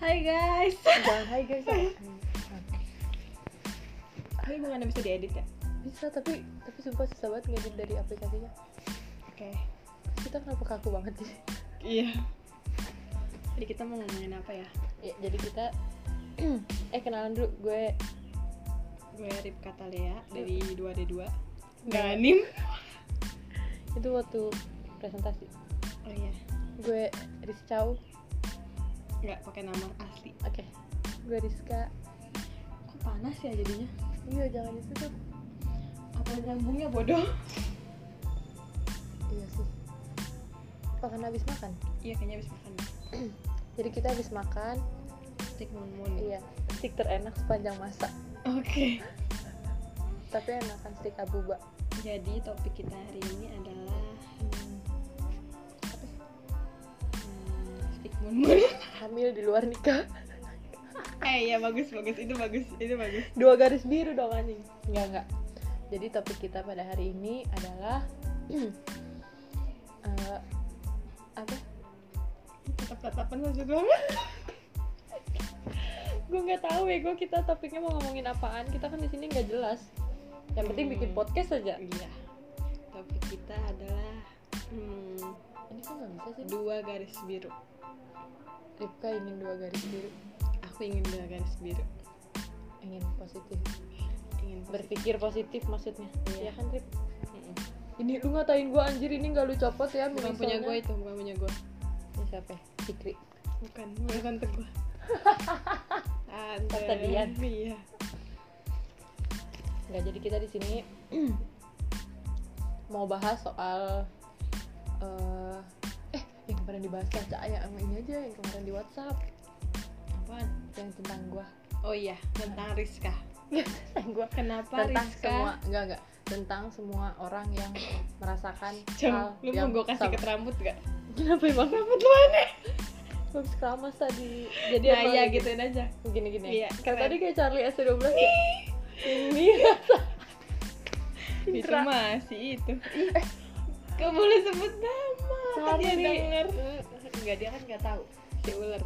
Hai guys. jangan hai guys jangan. Ini bukan bisa diedit ya? bisa tapi tapi sumpah susah banget ngedit dari aplikasinya Oke. kita kenapa kaku banget sih Iya. Jadi kita mau ngomongin apa ya? ya, jadi kita eh kenalan dulu gue Gue Rip Katalia dari 2D2. Ganim. itu waktu presentasi Oh iya. gue Rizcau oke Nggak pakai nama asli. gue Rizka Kok panas ya jadinya? iya jangan itu tuh Apa nyambungnya bodoh? iya sih apa karena habis makan Iya kayaknya habis makan. jadi kita habis makan Tik mun mun. iya stik terenak sepanjang masa Oke. tapi enakan stik abuba Jadi topik kita hari ini adalah eh, hmm, Tik mun mun. hamil di luar nikah eh ya bagus bagus itu bagus itu bagus. dua garis biru dong anjing enggak enggak jadi topik kita pada hari ini adalah eh, apa Tetap tatapan aja gue. gue nggak tahu ya gue kita topiknya mau ngomongin apaan kita kan di sini nggak jelas yang penting Hmm. bikin podcast aja Iya. Topik kita adalah hmm, ini kan nggak bisa sih dua garis biru. Ripka ingin dua garis biru Aku ingin dua garis biru. ingin positif Ingin berpikir positif maksudnya Iya. ya kan Rip Mm-mm. ini lu ngatain gue anjir ini nggak lu copot ya Bukan misalnya. punya gue itu, bukan punya gue. Ini siapa ya? Fikri Bukan, bukan tante gue. Tante Tante Dian. Iya. nggak jadi kita di sini mau bahas soal eh eh yang kemarin dibahas kan Caya sama ini aja yang kemarin di WhatsApp Apaan? yang tentang gua Oh iya, tentang Rizka. tentang gua Kenapa tentang Rizka? semua enggak enggak tentang semua orang yang merasakan Jam, hal lu mau gue kasih sama. ke rambut gak? kenapa emang Rambut lu aneh. habis keramas tadi jadi Nah emang iya lagi- gituin aja. gini gini Iya, kayak keren. tadi kayak Charlie S12 ya. ini rasa Itu Indra. mah si itu. Ih, Gak boleh sebut nama. Kan Dia Eh. Sorry. denger. Mm. Enggak, dia kan gak tahu. Si ular.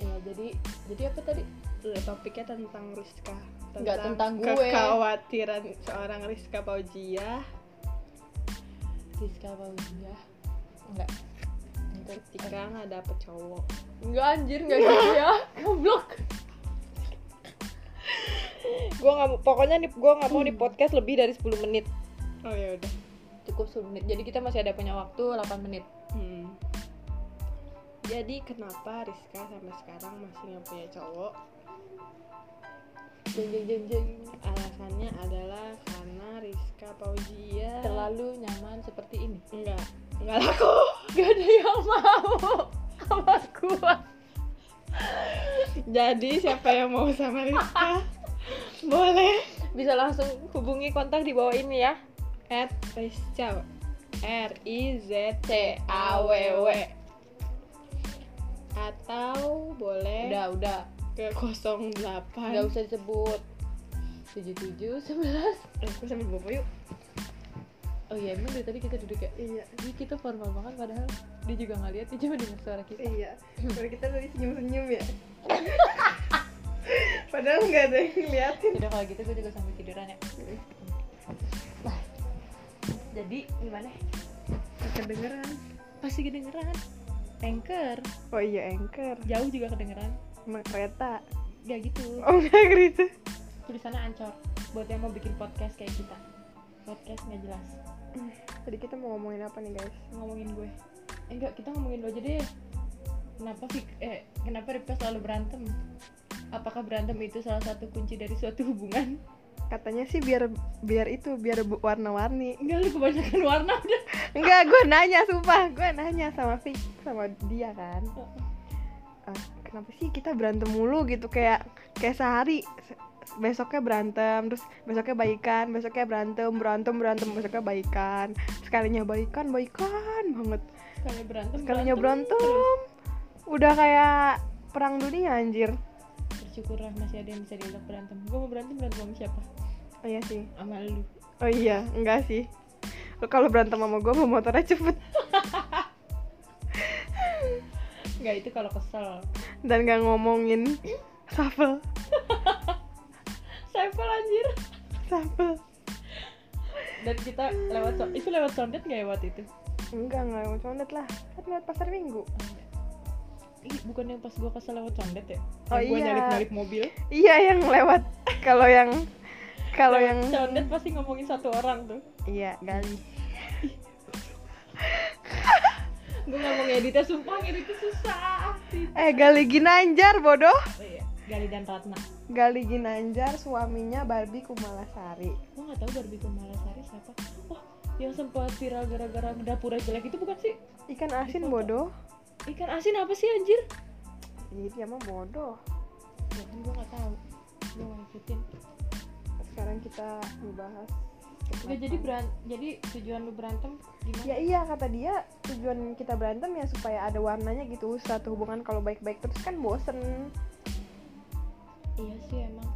ya jadi jadi apa tadi Tuh, topiknya tentang Rizka Nggak, tentang gue. kekhawatiran seorang Rizka Paujia Rizka Paulia enggak Untuk- ketika nggak dapet cowok enggak anjir enggak gitu ya goblok gua nggak mau- pokoknya nih gua nggak mau di podcast lebih dari 10 menit oh ya udah cukup 10 menit jadi kita masih ada punya waktu 8 menit hmm. jadi kenapa Rizka sampai sekarang masih nggak punya cowok jeng jeng jeng jeng alasannya adalah karena Rizka Paujia terlalu nyaman seperti ini nggak nggak laku gak ada yang mau sama gua jadi siapa yang mau sama Rizka boleh bisa langsung hubungi kontak di bawah ini ya at Rizka R I Z T A W W atau boleh udah udah ke 08 nggak usah disebut 77 11 Nah, aku sambil bobo yuk oh iya emang dari tadi kita duduk ya iya Ih, kita formal banget padahal dia juga nggak lihat dia cuma dengar suara kita iya baru kita tadi senyum-senyum ya padahal nggak ada yang ngeliatin Yaudah kalau gitu gue juga sambil tiduran ya Nah, jadi gimana kedengeran pasti kedengeran anchor oh iya anchor jauh juga kedengeran emang kereta gak gitu oh nggak gitu tulisannya ancor buat yang mau bikin podcast kayak kita podcast nggak jelas tadi kita mau ngomongin apa nih guys ngomongin gue eh, enggak kita ngomongin lo aja deh kenapa Fik- eh kenapa Ripka selalu berantem apakah berantem itu salah satu kunci dari suatu hubungan katanya sih biar biar itu biar bu- warna-warni enggak lu kebanyakan warna udah enggak gue nanya sumpah gue nanya sama Vic sama dia kan Eh, kenapa sih kita berantem mulu gitu kayak kayak sehari se- besoknya berantem terus besoknya baikan besoknya berantem berantem berantem besoknya baikan sekalinya baikan baikan banget sekali berantem sekalinya berantem terus. udah kayak perang dunia anjir bersyukurlah masih ada yang bisa diajak berantem gue mau berantem berantem sama siapa oh iya sih sama lu oh iya enggak sih lu kalau berantem sama gue mau motornya cepet enggak itu kalau kesel dan gak ngomongin shuffle Saya anjir shuffle dan kita lewat so- itu lewat sounded nggak ya waktu itu enggak enggak lewat condet lah kan lewat pasar minggu Ih, bukan yang pas gua kesel lewat sounded ya Oh, yang gua iya. nyalip nyalip mobil iya yang lewat kalau yang kalau Lewat yang sounded pasti ngomongin satu orang tuh iya gali gua nggak mau ngeditnya sumpah ngeditnya susah eh gali ginanjar bodoh Oh, iya. Gali dan Ratna gali ginanjar suaminya Barbie Kumalasari gua nggak tahu Barbie Kumalasari siapa oh yang sempat viral gara-gara dapurnya jelek itu bukan sih ikan asin Iya, bodoh ikan asin apa sih anjir Ih, dia mah bodoh jadi gua nggak tahu gua nggak ngikutin sekarang kita membahas Nggak, jadi beran jadi tujuan lu berantem gimana Ya iya kata dia tujuan kita berantem ya supaya ada warnanya gitu satu hubungan kalau baik-baik terus kan bosen Iya sih emang.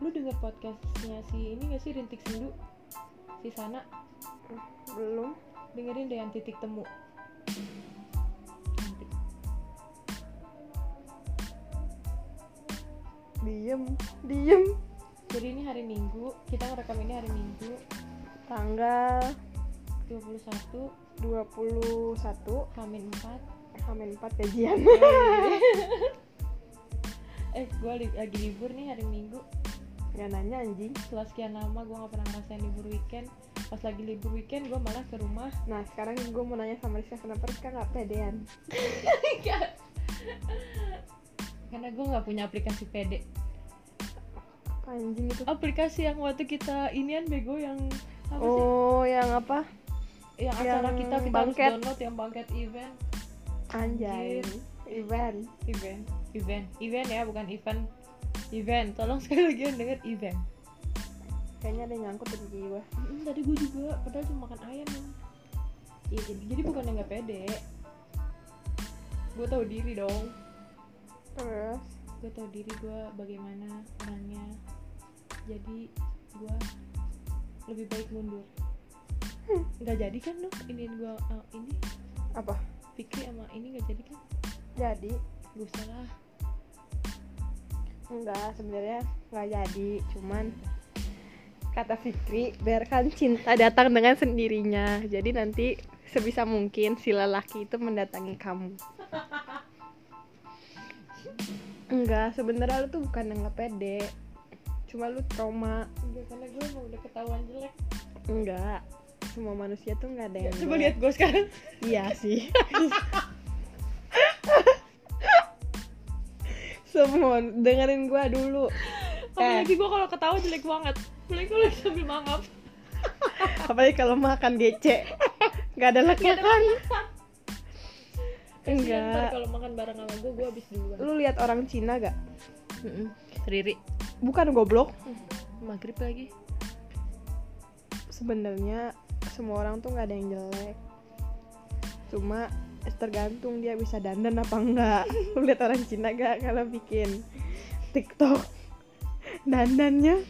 Lu denger podcastnya si ini gak sih Rintik Sendu? Si Sana belum dengerin deh yang titik temu. Nanti. diem diem Jadi ini hari Minggu, kita ngerekam ini hari Minggu tanggal 21 21 Hamin 4 Hamin 4 gajian Eh gue lagi libur nih hari Minggu nggak nanya anjing Setelah sekian lama gue gak pernah ngerasain libur weekend Pas lagi libur weekend gue malah ke rumah nah sekarang gue mau nanya sama Rizka kenapa Rizka nggak pedean Karena gue gak punya aplikasi PD anjing itu Aplikasi yang waktu kita inian bego yang apa sih? oh yang apa yang Yang acara kita kita bangket. harus download yang bangket event anjay Anjir. event event event event ya bukan event event tolong sekali lagi yang denger event kayaknya ada yang nyangkut di gigi gue Mm, tadi gue juga padahal cuma makan ayam ya. Iya, jadi, jadi bukan yang nggak pede gue tahu diri dong terus gue tahu diri gue bagaimana orangnya jadi gue lebih baik mundur nggak jadi kan dong ini gue eh, ini apa Fikri sama ini nggak jadi kan jadi gak usah lah enggak sebenarnya nggak jadi cuman kata Fikri biarkan cinta datang dengan sendirinya jadi nanti sebisa mungkin si lelaki itu mendatangi kamu enggak sebenarnya lu tuh bukan yang nggak pede cuma lu trauma Enggak, karena gue emang udah ketahuan jelek enggak semua manusia tuh nggak ada yang Coba jelek. lihat gue sekarang iya sih semua dengerin gua dulu Eh. Apalagi gue kalau ketawa jelek banget Apalagi kalau lagi sambil mangap apalagi kalau makan gece nggak ada leketan Kasihan ntar enggak kalau gitu. makan bareng sama gue, gue habis duluan lu lihat orang Cina gak Riri bukan goblok Maghrib lagi sebenarnya semua orang tuh nggak ada yang jelek cuma tergantung dia bisa dandan apa enggak lu lihat orang Cina gak kalau bikin TikTok dandannya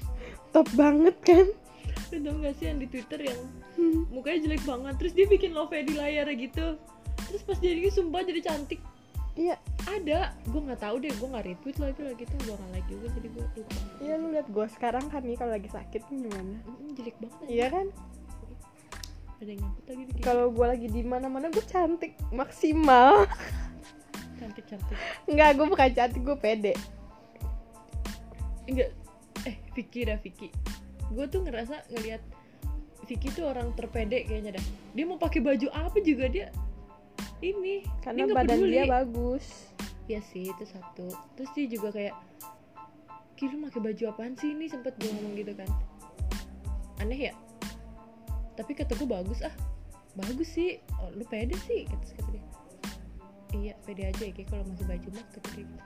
top banget kan Lu tau gak sih yang di Twitter yang mukanya jelek banget Terus dia bikin love di layar gitu Terus pas jadinya sumpah jadi cantik iya Ada Gue gak tahu deh, gue gak retweet lagi lagi tuh Gue gak like juga, jadi gue lupa iya lu lihat gue sekarang kan nih kalau lagi sakit gimana Mm, Jelek banget aja. iya kan Ada yang nyangkut lagi di kalau gue lagi di mana mana gue cantik maksimal Cantik-cantik Enggak, gue bukan cantik, gue pede enggak eh Vicky dah Vicky gue tuh ngerasa ngelihat Vicky tuh orang terpede kayaknya dah dia mau pakai baju apa juga dia ini Karena nggak badan peduli. dia bagus ya sih itu satu terus dia juga kayak kira pakai baju apaan sih ini sempet gue ngomong gitu kan aneh ya tapi kata gue bagus ah bagus sih oh, lu pede sih kata kata dia iya pede aja ya kayak kalau masih baju mah kata dia gitu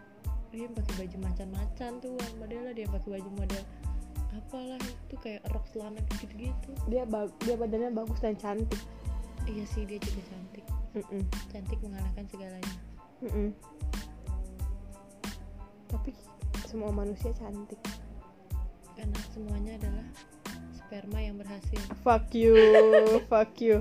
dia yang pakai baju macan-macan tuh modelnya dia yang pakai baju model apalah itu kayak rok celana gitu-gitu Dia ba- dia badannya bagus dan cantik iya sih dia juga cantik Mm-mm. cantik mengalahkan segalanya Mm-mm. Tapi semua manusia cantik karena semuanya adalah sperma yang berhasil Fuck you, fuck you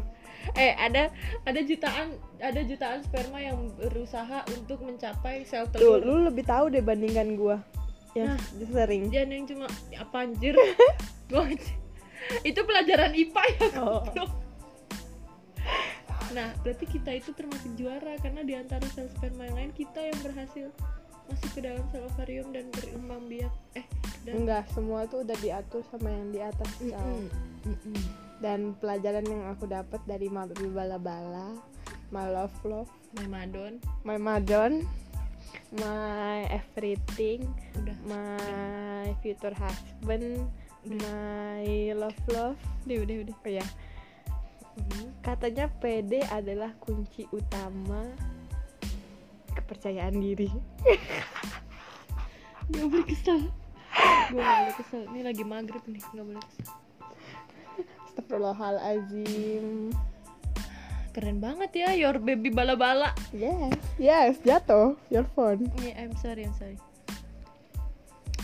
eh ada ada jutaan ada jutaan sperma yang berusaha untuk mencapai sel Tuh, telur lu lebih tahu deh bandingkan gua Nah, yang sering. dan yang cuma apa anjir Gua- itu pelajaran IPA ya Oh. goblok. nah berarti kita itu termasuk juara karena di antara sel sperma yang lain kita yang berhasil masuk ke dalam sel ovarium dan berkembang biak eh dan Enggak, semua tuh udah diatur sama yang di atas. Mm-mm. Sal. Mm-mm. Dan pelajaran yang aku dapat dari Mabi Bala Bala, My Love Love, My Madon My Madon, My Everything, udah My Future Husband, My Love Love. udah udah udah Oh ya, Mm-hmm. katanya PD adalah kunci utama kepercayaan diri. nggak boleh kesel gue nggak boleh kesel ini lagi maghrib nih nggak boleh kesel Astagfirullahalazim. keren banget ya your baby bala-bala Yes, yes, jatuh your phone. Yeah, I'm sorry, I'm sorry.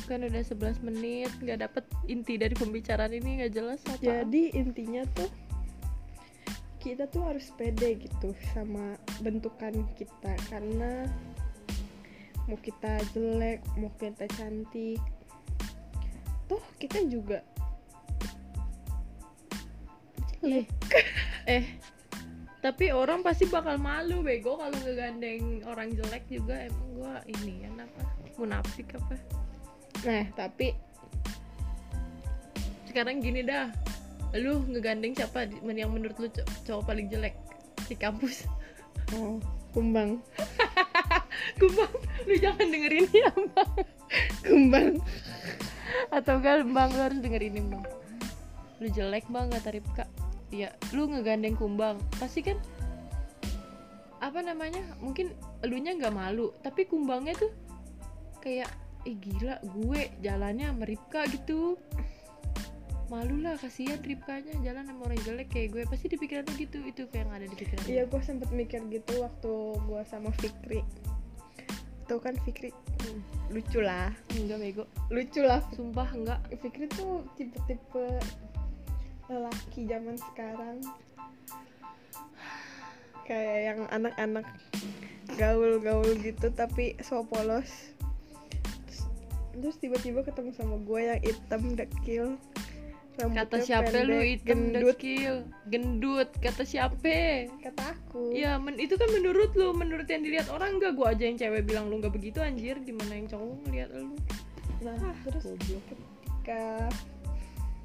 Kan udah 11 menit, nggak dapet inti dari pembicaraan ini nggak jelas apa. Jadi intinya tuh kita tuh harus pede gitu sama bentukan kita karena mau kita jelek, mau kita cantik. Tuh kita juga Ih. Iya. eh, tapi orang pasti bakal malu bego kalau ngegandeng orang jelek juga emang gua ini ya apa munafik apa Nah, tapi sekarang gini dah lu ngegandeng siapa di- men- yang menurut lu co- cowok paling jelek di kampus oh, kumbang, kumbang lu jangan dengerin ya bang kumbang. atau enggak bang lu harus dengerin ini bang lu jelek banget tarif kak ya lu ngegandeng kumbang pasti kan apa namanya mungkin elunya nggak malu tapi kumbangnya tuh kayak ih gila gue jalannya sama Ripka gitu malu lah kasihan Ripkanya jalan sama orang jelek kayak gue pasti di pikiran lu gitu itu kayak yang ada di pikiran lu. Iya, gue sempet mikir gitu waktu gue sama Fikri. Tuh kan Fikri Hmm, lucu lah, enggak bego lucu lah sumpah enggak Fikri tuh tipe-tipe lelaki zaman sekarang kayak yang anak-anak gaul-gaul gitu tapi so polos Terus- terus tiba-tiba ketemu sama gue yang hitam dekil rambutnya kata siapa lu pendek, hitam gendut dekil gendut kata siapa kata aku Ya, men itu kan menurut lu, menurut yang dilihat orang enggak gua aja yang cewek bilang lu nggak begitu anjir, gimana yang cowok ngelihat lu? nah Ah, terus ketika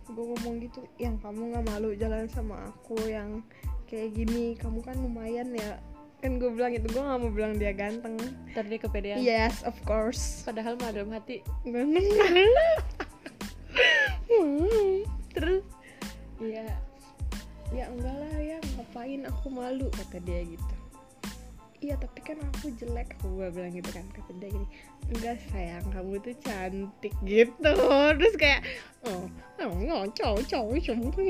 gue ngomong gitu yang kamu nggak malu jalan sama aku yang kayak gini kamu kan lumayan ya kan gue bilang itu gue nggak mau bilang dia ganteng Ntar dia kepedean. yes of course Padahal mah dalam hati. ganteng Terus iya. ya ya enggak lah ya ngapain aku malu kata dia gitu iya tapi kan aku jelek aku gak bilang gitu kan kata dia gini enggak sayang kamu tuh cantik gitu terus kayak oh oh nggak cowok cowok cowok gitu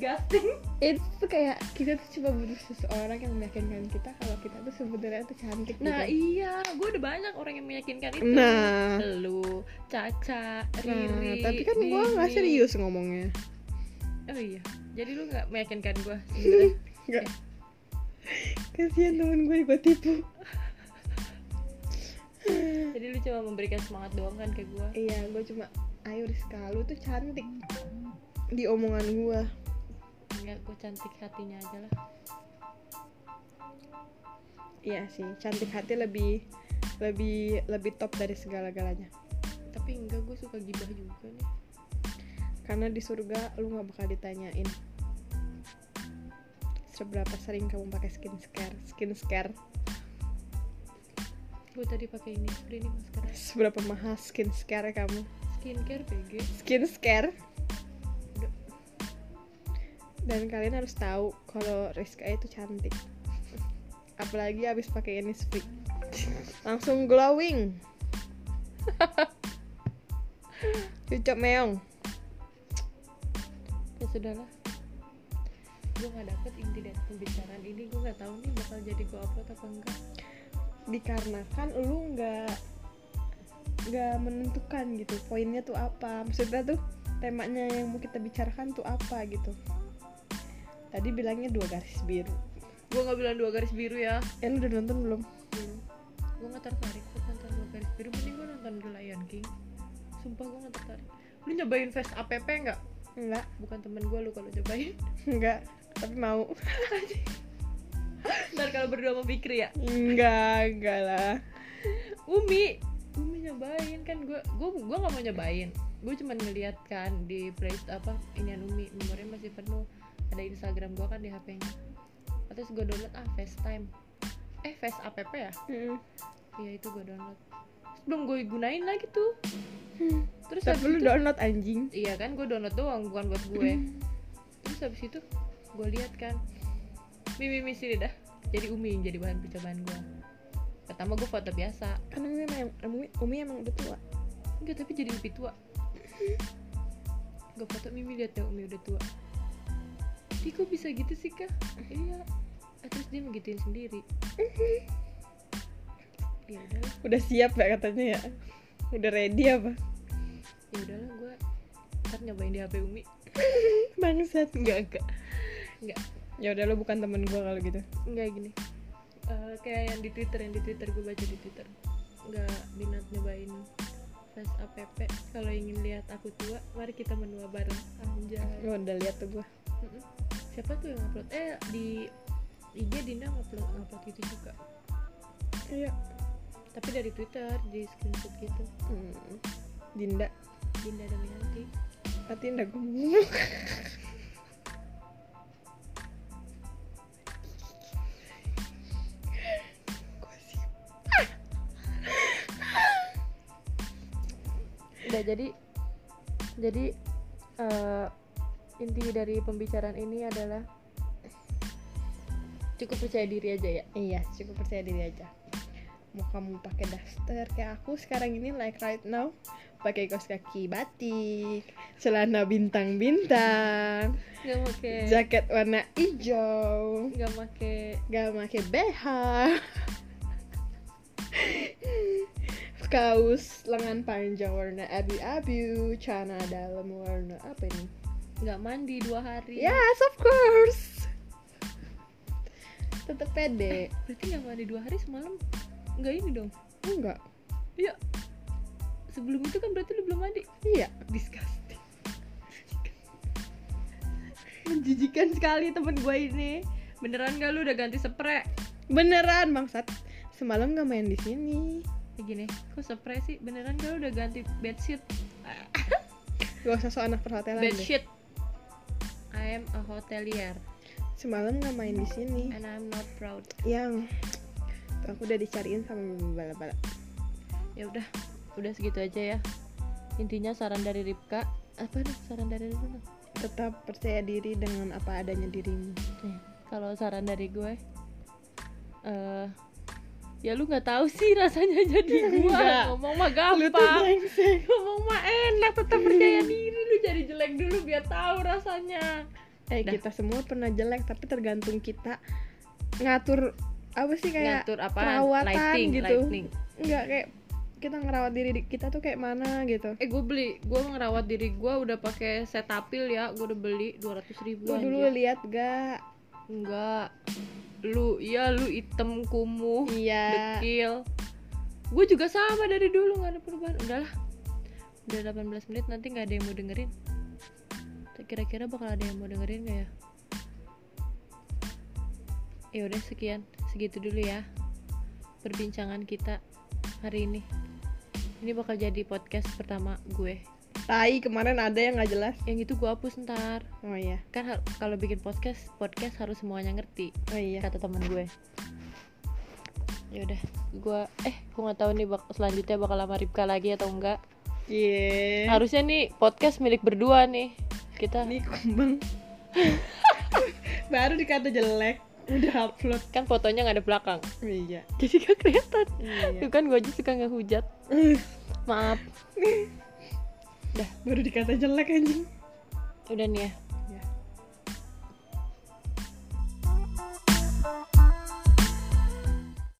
gasting. itu tuh kayak kita tuh cuma butuh seseorang yang meyakinkan kita kalau kita tuh sebenarnya tuh cantik Nah, gitu. iya, gua udah banyak orang yang meyakinkan itu. Nah. lu, Caca, nah Riri. tapi kan gue nggak Dini. serius ngomongnya Oh iya. Jadi lu nggak meyakinkan gua sebenarnya. Enggak. Eh. Kasihan temen gue gue tipu. Jadi lu cuma memberikan semangat doang kan ke gua. Iya, gue cuma ayo Rizka lu tuh cantik. Di omongan gue. Enggak, gua cantik hatinya aja lah. Iya sih, cantik hati lebih lebih lebih top dari segala-galanya. Tapi enggak gua suka gibah juga nih. Karena di surga lu nggak bakal ditanyain seberapa sering kamu pakai skincare, skincare, Gua tadi pakai ini, udah ini maskara. seberapa mahal skincare kamu, skincare PG skincare. Dan kalian harus tahu kalau Rizka itu cantik. Apalagi abis pakai ini speak, langsung glowing. Cucok meong. ya sudahlah gue nggak dapet inti dari pembicaraan ini gue nggak tahu nih bakal jadi gue upload apa enggak dikarenakan lu nggak nggak menentukan gitu poinnya tuh apa maksudnya tuh temanya yang mau kita bicarakan tuh apa gitu tadi bilangnya dua garis biru gue nggak bilang dua garis biru ya ya lu udah nonton belum gue Iya. nggak tertarik buat nonton dua garis biru mending gue nonton The Lion King sumpah gue nggak tertarik lu nyobain Fast app nggak enggak bukan temen gue lu kalau nyobain enggak tapi mau ntar kalau berdua mau pikir ya enggak enggak lah Umi Umi nyobain kan gue gue gue nggak mau nyobain gue cuman ngeliat kan di play apa inian Umi memorinya masih penuh ada Instagram gue kan di HP-nya terus gue download ah FaceTime eh Face app ya Mm-mm. iya itu gue download terus belum gue gunain lagi tuh Hmm. terus tapi habis lu Hmm. itu- download anjing iya kan gue download doang bukan buat gue terus habis itu gue lihat kan mimi mimi sini dah jadi umi jadi bahan percobaan gue pertama gue foto biasa kan umi emang umi, umi emang udah tua enggak tapi jadi lebih tua gue foto mimi lihat ya umi udah tua Ih kok bisa gitu sih kak iya Ah, terus dia ngegituin sendiri ya udahlah udah siap ya katanya ya udah ready apa ya udahlah gue ntar nyobain di hp umi bangsat enggak enggak enggak ya udah lu bukan temen gua kalau gitu nggak gini Eh, kayak yang di twitter yang di twitter gue baca di twitter nggak minat nyobain face app kalau ingin lihat aku tua mari kita menua bareng anjay Lu udah lihat tuh gua Mm-mm. siapa tuh yang upload eh di IG Dinda upload upload itu juga iya tapi dari twitter di screenshot gitu hmm. dinda Dinda Damianti Berarti ndak gue mulu. udah jadi jadi eh, inti dari pembicaraan ini adalah cukup percaya diri aja ya Iya, cukup percaya diri aja. Mau kamu pakai daster kayak aku sekarang ini like right now, pakai kaos kaki batik, celana bintang-bintang, nggak pakai jaket warna hijau, nggak pakai gak pakai BH. kaos lengan panjang warna abu-abu, celana dalam warna apa ini? nggak mandi dua hari Yes, of course. Tetep pede. berarti nggak mandi dua hari semalam nggak ini dong Enggak. iya sebelum itu kan berarti lu belum mandi Iya, disgusting menjijikan sekali temen gue ini. beneran nggak lu udah ganti spray Beneran bangsat. Semalam nggak main di sini. ya gini kok spray sih beneran nggak lu udah ganti bedsheet Gak usah so anak perhotelan deh. bedsheet I am a hotelier Semalam nggak main di sini. and I'm not proud Yang tuh aku udah dicariin sama bala-bala. ya udah udah segitu aja ya intinya saran dari Ripka apa nih saran dari Ripka Tetap percaya diri dengan apa adanya dirimu. Nih, kalau saran dari gue eh ya lu nggak tahu sih rasanya jadi gue Iya, Enggak. ngomong mah Lu tuh gampang brengsek. ngomong mah enak tetap percaya diri lu jadi jelek dulu biar tahu rasanya Eh Dah. kita semua pernah jelek tapi tergantung kita ngatur apa sih kayak ngatur apa perawatan lighting gitu. lighting nggak kayak kita ngerawat diri di- kita tuh kayak mana gitu eh gue beli gue ngerawat diri gue udah pakai setapil ya gue udah beli dua ratus ribu lu dulu lihat gak enggak lu ya lu item kumuh iya dekil gue juga sama dari dulu nggak ada perubahan udahlah udah 18 menit nanti nggak ada yang mau dengerin kira-kira bakal ada yang mau dengerin nggak ya ya udah sekian segitu dulu ya perbincangan kita hari ini ini bakal jadi podcast pertama gue tai kemarin ada yang nggak jelas yang itu gue hapus ntar oh iya kan har- kalau bikin podcast podcast harus semuanya ngerti oh iya kata teman gue ya udah gue eh gue nggak tahu nih bak selanjutnya bakal sama Ripka lagi atau enggak iya harusnya nih podcast milik berdua nih kita ini kumbang baru dikata jelek udah upload kan fotonya nggak ada belakang Oh iya jadi gak kelihatan iya tuh kan gue aja suka ngehujat maaf baru dikata jelek anjing udah nih ya